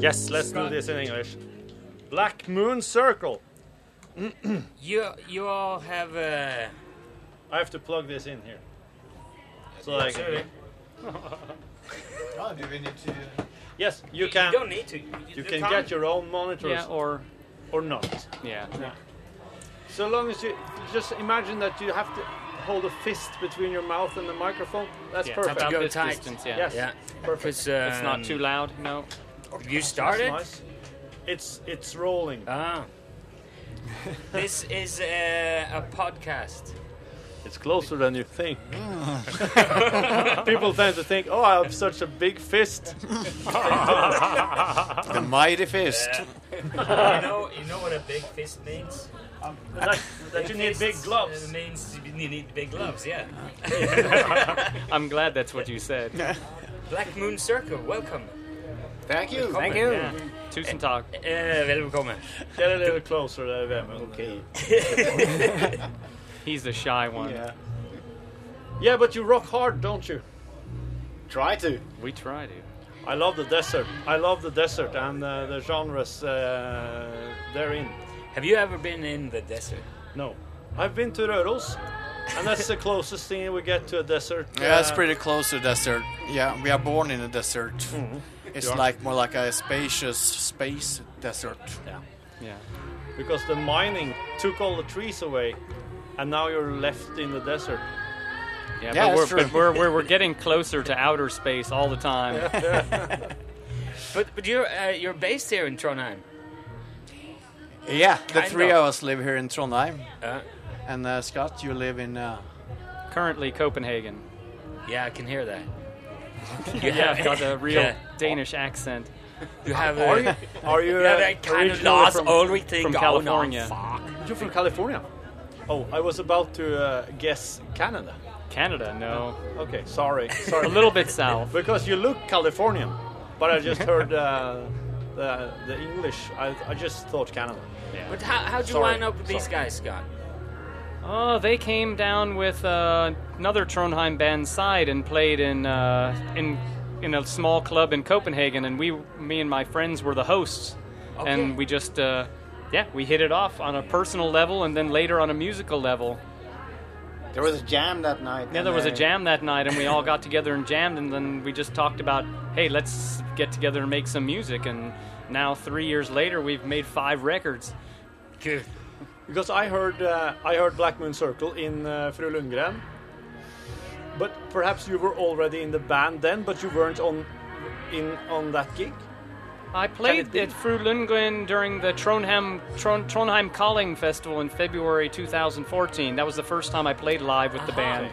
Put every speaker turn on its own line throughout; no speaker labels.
Yes, let's do this in English. Black Moon Circle.
You you all have uh,
I have to plug this in here. So I can,
Oh, do we need to?
yes, you can.
You don't need to. You,
You can get your own monitors
Yeah, or
or not.
yeah.
So long as you just imagine that you have to hold a fist between your mouth and the microphone. That's
Yeah,
perfect.
Have to go
This
tight.
distance, yeah.
Yes.
Yeah,
Perfect.
because um,
It's not too loud. No.
You started.
Nice. It's it's rolling.
Ah. this is uh, a podcast.
It's closer than you think. People tend to think, "Oh, I have such a big fist."
The mighty fist.
you know, you know what a big fist means.
that, that you need big
Fists,
gloves.
uh, means you need big gloves. Yeah.
I'm glad that's what you said.
Black Moon Circle, welcome.
Thank you.
Thank you.
Tusen takk.
Eh, vel velkommen.
Get a little closer uh, there, Vemund. Okay.
He's the shy one.
Yeah. Yeah, but you rock hard, don't you?
Try to.
We try to.
I love the desert. I love the desert and uh, the genres uh, therein.
Have you ever been in the desert?
No, I've been to Røros, and that's the closest thing we get to a desert.
Yeah, it's
uh,
pretty close to desert. Yeah, we are born in a desert. It's
You are.
like more like a spacious space desert.
Yeah.
Yeah.
Because the mining took all the trees away, and now you're left in the desert.
Yeah,
that's
but, we're,
true.
but we're, we're, we're getting closer to outer space all the time.
But but you're uh, you're based here in Trondheim.
Yeah, the
Kind
three
of.
of us live here in Trondheim,
Uh,
and uh, Scott, you live in. Uh,
Currently, Copenhagen.
yeah, I can hear that.
You have got a real
Yeah.
Danish accent.
You have a,
Are you? Are you?
you have
uh,
that kind of
originally
lost
from-
everything
from
going
California.
on. Oh, Fuck.
You're from California. Oh, I was about to uh, guess Canada.
Canada, no.
Okay, sorry, sorry.
A little bit south.
Because you look Californian, but I just heard uh, the, the English. I, I just thought Canada.
Yeah.
But how how'd you
Sorry.
line up with these
Sorry.
guys, Scott?
Oh, they came down with uh, another Trondheim band side and played in uh, in in a small club in Copenhagen, and we, me and my friends, were the hosts,
Okay.
and we just uh, yeah, we hit it off on a personal level, and then later on a musical level.
There was a jam that night.
Yeah,
and
there was a
they-
jam that night, and we all got together and jammed, and then we just talked about, hey, let's get together and make some music. And now, three years later, we've made five records.
Good.
Because I heard uh, I heard Black Moon Circle in uh, Fru Lundgren, but perhaps you were already in the band then, but you weren't on in on that gig.
I
it
played
be?
at Fru Lundgren during the Trondheim, Tron, Trondheim Calling Festival in February 2014. That was the first time I played live with the band.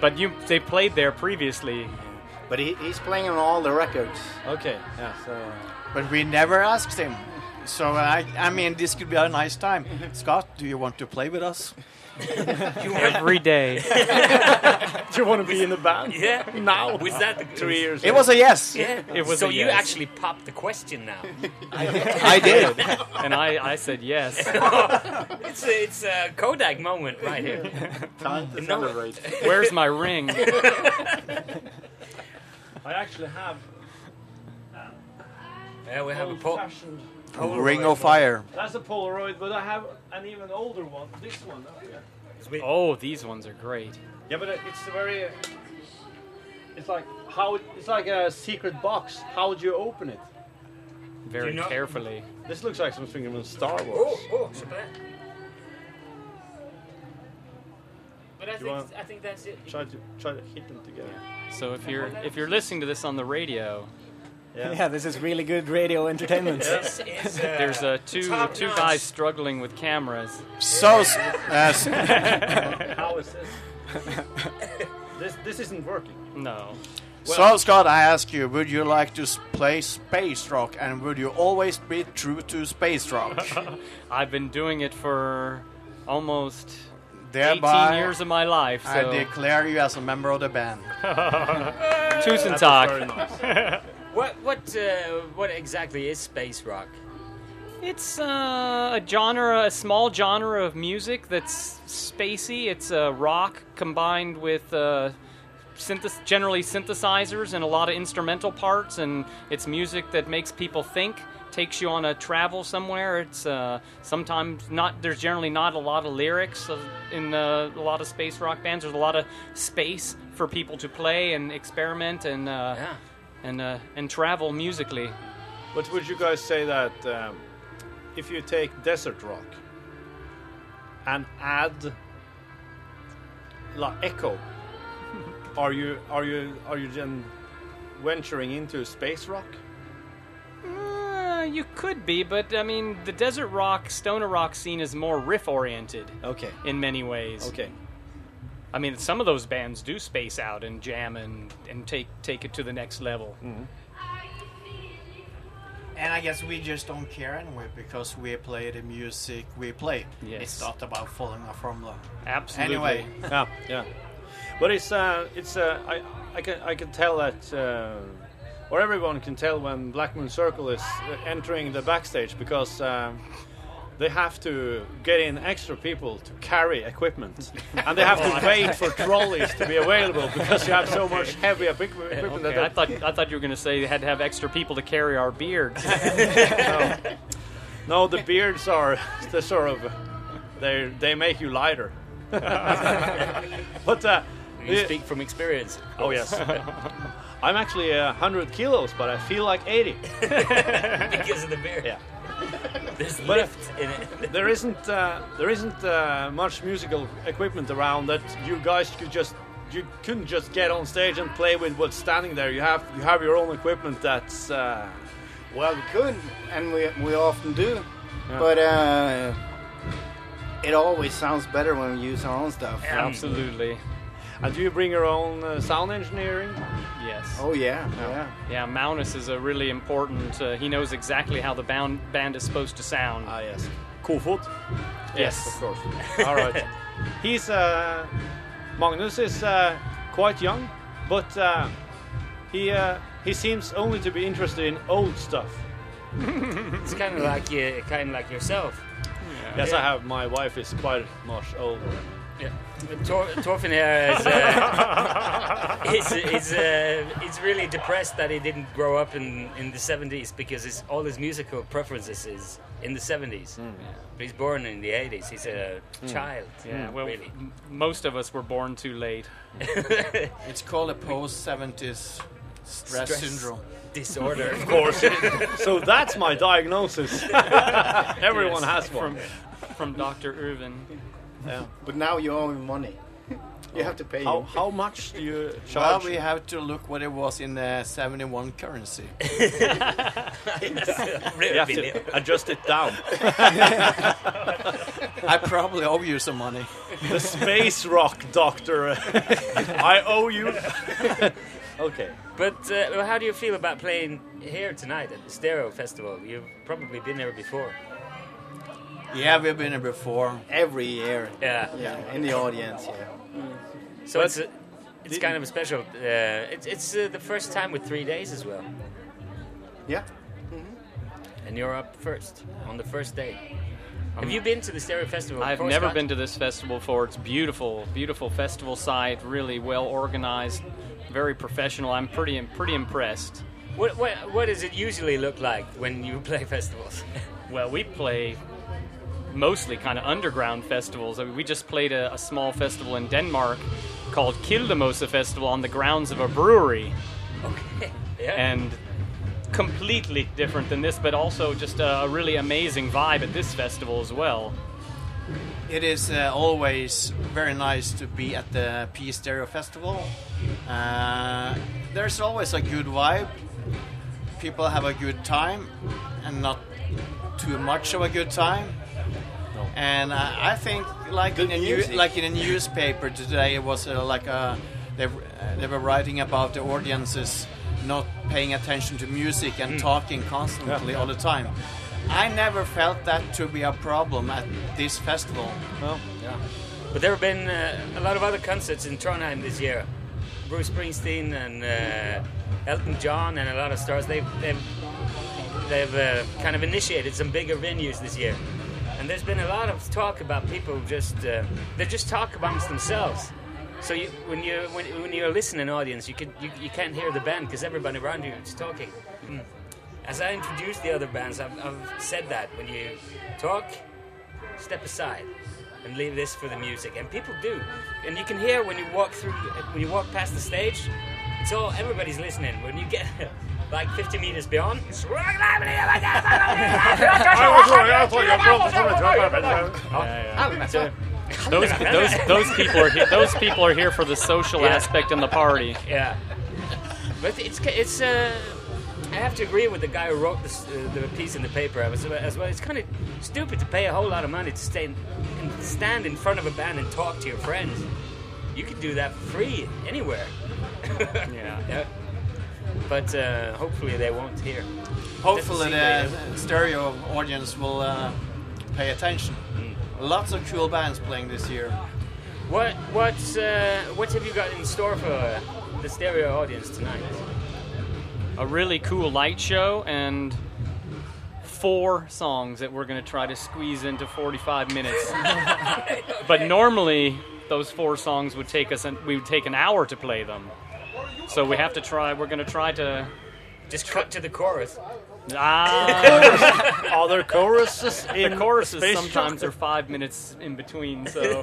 But you, they played there previously.
But he, he's playing on all the records.
Okay, yeah.
So
but we never asked him. So uh, I, I mean, this could be a nice time. Scott, do you want to play with us?
Every day.
Do you want to be in the band?
Yeah.
Now
Was that
three years.
It was a yes.
Yeah.
It was
so
a
you
yes.
actually popped the question now.
I did.
and I, I said yes.
it's a, it's a Kodak moment right here.
time to
No.
celebrate.
Where's my ring?
I actually have
Yeah, we have a po-
old-fashioned.
Ring of Fire.
That's a Polaroid, but I have an even older one. This one. up here.
Oh, these ones are great.
Yeah, but it's a very. uh, It's like how it- it's like a secret box. How would you open it?
Very
You know-
carefully.
This looks like something from Star Wars.
Oh, oh, så bra. But I
think- want-
I think that's it.
Try to try to hit them together.
So if you're if you're listening to this on the radio,
Yeah.
Yeah, this is really good radio entertainment.
This is, uh,
there's uh, two
Top
two
notch.
guys struggling with cameras.
So, s- uh, s-
How is this? this this isn't working.
No,
so Scott, I ask you, would you like to s- play space rock, and would you always be true to space rock?
I've been doing it for almost 18
Thereby,
years of my life.
I
So
declare you as a member of the band.
tusen
That's
tak.
very nice.
what what uh, what exactly is space rock?
It's uh, a genre, a small genre of music that's spacey. It's uh, rock combined with uh, synthes- generally synthesizers and a lot of instrumental parts, and it's music that makes people think, takes you on a travel somewhere. It's uh, sometimes not. There's generally not a lot of lyrics of, in uh, a lot of space rock bands. There's a lot of space for people to play and experiment and uh,
Yeah.
and uh, and travel musically.
But would you guys say that um, if you take desert rock and add la echo, are you are you are you then venturing into space rock?
Uh, you could be, but I mean, the desert rock, stoner rock scene is more riff oriented
Okay.
in many ways.
Okay.
I mean, some of those bands do space out and jam and, and take take it to the next level.
Hmm.
And I guess we just don't care anyway because we play the music we play.
Yes.
It's not about following a formula.
Absolutely.
Anyway,
yeah, yeah. But it's uh, it's uh, I I can I can tell that, uh, or everyone can tell when Black Moon Circle is uh, entering the backstage because. Um, they have to get in extra people to carry equipment, and they have to wait for trolleys to be available because you have so much heavy equi- equipment. that
Okay,
they-
I thought I thought you were going to say they had to have extra people to carry our beards.
No, the beards are the sort of they they make you lighter. but uh,
You
the-
speak from experience.
Oh yes. I'm actually uh, 100 kilos, but I feel like 80.
because of the beer.
Yeah.
There's
But-
lift in it.
There isn't uh, there isn't uh, much musical equipment around that you guys could just you couldn't just get on stage and play with what's standing there. You have you have your own equipment that's uh,
Well, we could, and we, we often do, but uh, it always sounds better when we use our own stuff.
Absolutely.
and do you bring your own uh, sound engineering?
Yes.
Oh yeah, yeah.
Yeah, Maunus is a really important. Uh, he knows exactly how the bound, band is supposed to sound.
Ah yes. Kofod.
yes.
Of course. All right. He's uh, Magnus is uh, quite young, but uh, he uh, he seems only to be interested in old stuff.
It's kind of like you, kind of like yourself.
Yes, I have. My wife is quite much older.
Yeah. Tor- Torfin here is, uh, is, is, uh, is really depressed that he didn't grow up in, in the 70s because his, all his musical preferences is in the 70s. But he's born in the 80s. He's a child. Hmm.
Yeah, well,
really.
m- most of us were born too late.
it's called a post 70s stress, syndrome.
Disorder.
Of course. so that's my diagnosis. Everyone
Yes,
has one.
from, from Dr. Irvin.
But now you owe him money. You have to pay
How,
him.
how much do you
Well,
charge?
we have to look what it was in the 71 currency.
Really.
you have to adjust it down.
I probably owe you some money.
the space rock doctor. I owe you. okay.
But uh, well, how do you feel about playing here tonight at the Stereo Festival? You've probably been there before.
Yeah, we've been here before.
Every year.
Yeah.
Yeah, in the audience. Yeah.
So
But
it's a, it's kind of a special. Uh, it's it's uh, the first time with three days as well,
Yeah.
and you're up first on the first day. Have you been to the Stereo Festival?
Um, I've
before,
never
Scott?
been to this festival before. It's beautiful, beautiful festival site, really well organized, very professional. I'm pretty pretty impressed.
What, what what does it usually look like when you play festivals?
Well, we play mostly kind of underground festivals. I mean, we just played a, a small festival in Denmark called Kildemosa Festival on the grounds of a brewery.
yeah.
and completely different than this, but also just a really amazing vibe at this festival as well.
It is uh, always very nice to be at the P Stereo Festival. Uh, there's always a good vibe. People have a good time, and not too much of a good time. And uh, I, I think, like in, a new,
music.
like in a newspaper today, it was uh, like a, they, uh, they were writing about the audiences not paying attention to music and talking constantly all the time. I never felt that to be a problem at this festival.
but there have been uh, a lot of other concerts in Trondheim this year. Bruce Springsteen and uh, Elton John and a lot of stars. They've, they've they've uh, kind of initiated some bigger venues this year, and there's been a lot of talk about people just uh, they just talk amongst themselves. So you, when you when, when you're a listening audience, you can you, you can't hear the band because everybody around you is talking. Mm. As I introduced the other bands, I've, I've said that when you talk, step aside and leave this for the music, and people do. And you can hear when you walk through when you walk past the stage, it's all everybody's listening. When you get like 50 meters beyond, it's
It's a- those, those, those people are here. Those people are here for the social
Yeah.
aspect and the party.
Yeah. But it's it's uh, I have to agree with the guy who wrote this, uh, the piece in the paper as well, as well. It's kind of stupid to pay a whole lot of money to stay in, and stand in front of a band and talk to your friends. You can do that for free anywhere.
Yeah.
Yeah. But uh, hopefully they won't hear.
Hopefully, the
Doesn't seem
stereo audience will uh, pay attention. Lots of cool bands playing this year.
What what's uh, what have you got in store for uh, the stereo audience tonight?
A really cool light show and four songs that we're going to try to squeeze into 45 minutes. but normally those four songs would take us an, we would take an hour to play them. So we have to try. We're going to try to.
Just cut to the chorus.
Ah,
Are there choruses in
the choruses
space
sometimes
shuttle?
are five minutes in between. So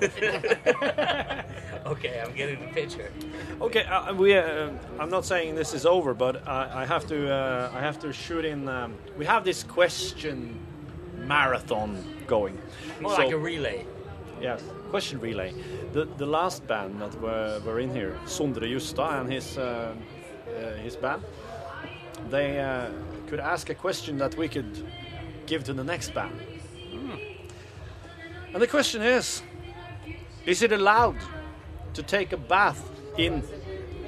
Okay, I'm getting the picture.
Okay, uh, we. Uh, I'm not saying this is over, but I, I have to. Uh, I have to shoot in. Um, we have this question marathon going.
More
So-
like a relay.
Yes. Question relay. The the last band that were, were in here, Sondre Justad and his uh, uh, his band, they uh, could ask a question that we could give to the next band. Hmm. And the question is: Is it allowed to take a bath in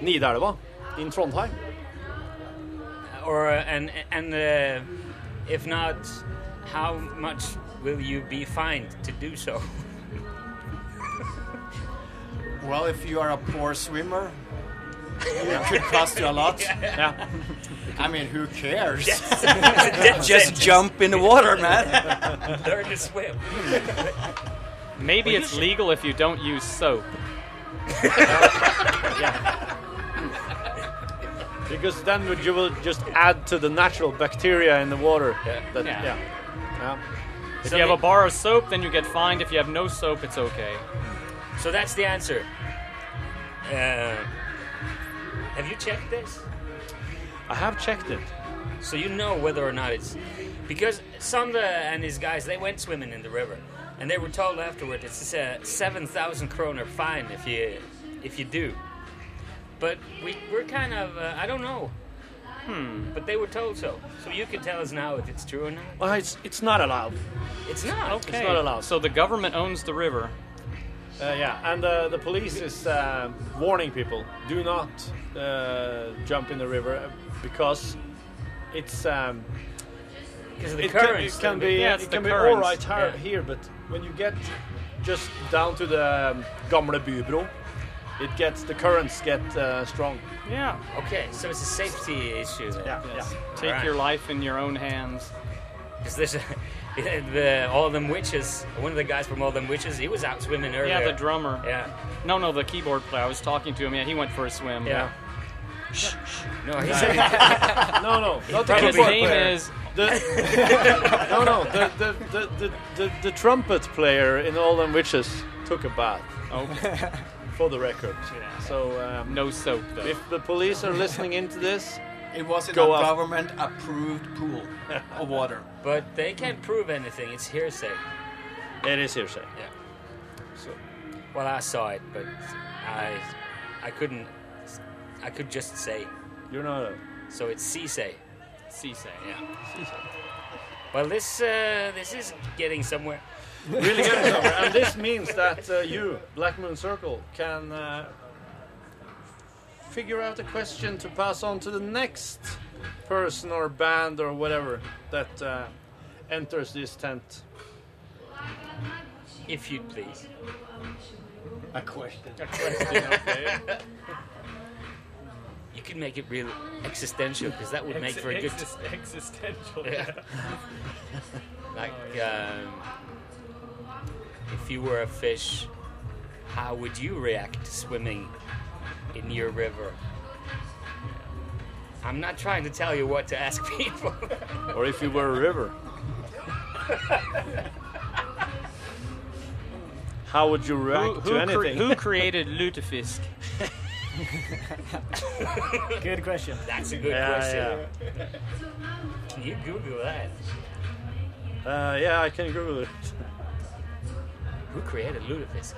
Nidelva in Trondheim?
or uh, and and uh, if not, how much will you be fined to do so?
Well, if you are a poor swimmer, it could cost you a lot.
Yeah.
I mean, who cares?
Just
jump in the water, man.
learn to swim.
maybe it's legal if you don't use soap.
Because then would- you will just add to the natural bacteria in the water.
Yeah.
That,
Yeah.
yeah. Yeah.
If
So
you have a
the-
bar of soap, then you get fined. If you have no soap, it's okay.
So that's the answer. Uh, have you checked this?
I have checked it.
So you know whether or not it's because Sonda and his guys they went swimming in the river, and they were told afterward it's a seven thousand kroner fine if you if you do. But we we're kind of uh, I don't know. Hmm. But they were told so. So you can tell us now if it's true or not.
Well, it's it's not allowed.
It's not.
Okay.
not allowed.
So the government owns the river.
Uh, yeah, and uh, the police is uh, warning people: do not uh, jump in the river uh, because it's um,
Because of the
it can,
currents.
it can be
Yeah, it's
it
the
can be all
currents,
right here,
yeah.
here, but when you get just down to the um, Gamle Bybro, it gets the currents get uh, strong.
Yeah.
Okay. So it's a safety issue. Then.
Yeah, yeah.
Take your life in your own hands.
Because there's a, the All Them Witches. One of the guys from All Them Witches. He was out swimming earlier.
Yeah, the drummer.
Yeah.
No, no, the keyboard player. I was talking to him. Yeah, he went for a swim.
Yeah. No, he's
No, no, not the
And
Probably
his
keyboard
name
player.
is.
The, no, no, the the, the, the, the the trumpet player in All Them Witches took a bath,
Oh,
for the record. So. Um,
no soap though.
If the police are listening into this,
It was in
Go
a
up.
government-approved pool of water.
But they can't prove anything. It's hearsay.
it is hearsay.
Yeah.
So,
Well, I saw it, but I, I couldn't. I could just say.
you're not a.
So it's say.
Seasay.
Yeah. Well, this uh, this is getting somewhere.
Really good. Summer. and this means that uh, you, Black Moon Circle, can uh, figure out a question to pass on to the next person or band or whatever that uh, enters this tent.
If you please.
A question.
Okay.
You could make it real existential because that would make for a good.
Exis- existential.
Yeah. like, um, if you were a fish, how would you react to swimming in your river? I'm not trying to tell you what to ask people.
Or if you were a river. How would you react
Who, who,
to
cre-
anything?
who created lutefisk?
Good question.
That's a good question.
yeah,
Can you Google that?
yeah. Uh, yeah, I can Google it.
Who created lutefisk?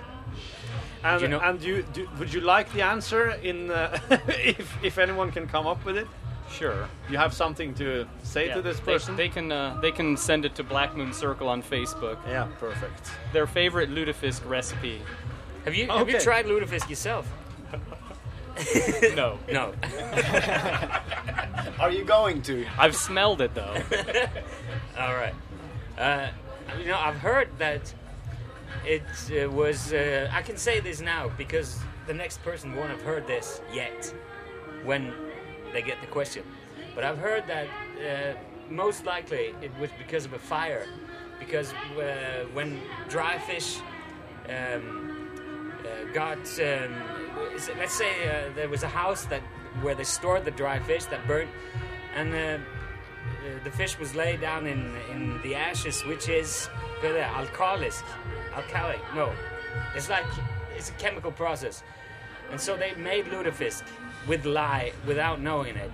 And,
You know-
and you, do, would you like the answer in uh, if, if anyone can come up with it?
Sure.
You have something to say
Yeah,
to this
they-
person?
They, can uh, they can send it to Black Moon Circle on Facebook.
yeah, perfect.
Their favorite lutefisk recipe.
Have you have you
Okay.
tried lutefisk yourself?
No,
No.
Are you going to?
I've smelled it though.
All right. Uh, you know, I've heard that it uh, was. Uh, I can say this now because the next person won't have heard this yet when they get the question. But I've heard that uh, most likely it was because of a fire, because uh, when dry fish. Um, uh, got um, is it- let's say uh, there was a house that where they stored the dry fish that burnt and uh, uh, the fish was laid down in, in the ashes, which is uh, alcoholic, alcoholic. No, it's like it's a chemical process, and so they made lutefisk with lye without knowing it,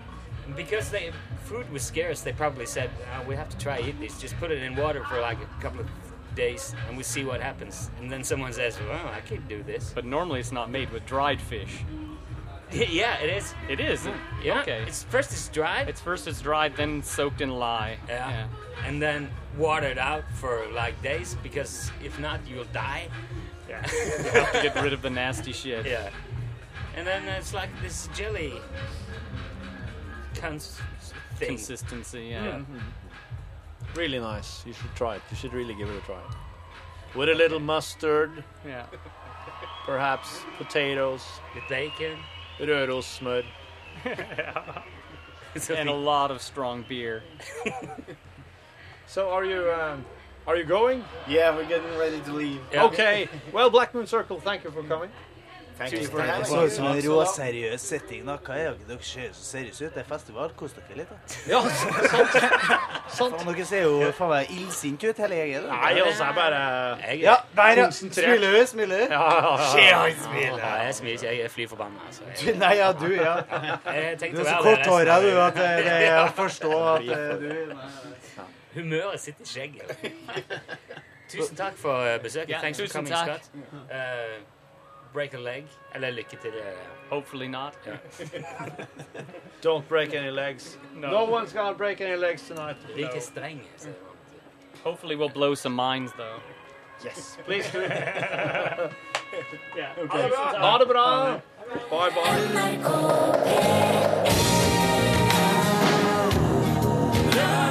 And because they food was scarce. They probably said "Ah, we have to try eat this. Just put it in water for like a couple of days, and we see what happens. And then someone says, "Well, I could do this."
But normally it's not made with dried fish.
yeah, it is.
It is.
Yeah,
Okay.
It's first it's dried.
It's first it's dried, then soaked in lye.
Yeah. And then watered out for like days because if not, you'll die. Yeah.
To get rid of the nasty shit.
yeah. And then it's like this jelly cons- thing.
Consistency. Yeah.
Really nice. You should try it. You should really give it a try. With a little mustard,
Yeah.
perhaps potatoes,
With bacon.
rörosmör.
And a lot of strong beer.
So are you um, are you going?
Yeah, we're getting ready to leave.
Yeah.
Okay. well, Black Moon Circle, thank you for coming.
Thank you for
Det
having
så ut som en rå,
us.
seriøs setting. da. Hva er det dere ser så seriøse ut? Det er festival. Kos dere litt, da.
Ja, sant. sant.
Faen, dere ser jo faen meg illsinte ut, hele gjengen. da.
Nei, altså, jeg bare
Jeg,
Ja, der, ja.
Konsentrert.
Smiler du? Smiler du?
Ja, ja, ja.
Se han smiler!
Ja, Ah, jeg smiler ikke. Jeg er fly forbanna. Altså. Jeg,
Nei, ja, du, ja.
jeg
Du
tenkte
er så
å være der
korthåra,
resten
du,
av
at eh, det, jeg forstår at eh, du
Humøret sitter i skjegget. Tusen takk for eh, besøket.
Ja,
Thanks for
tusen
coming,
takk.
Scott. Eh, break a leg. Eller lykke til eh, dere.
Hopefully not.
Don't break any legs. No. one's gonna break any legs tonight.
Like streng. Altså.
Hopefully we'll blow some mines though.
Yes.
Please do. Ha det bra. Bye bye.
Marco Polo.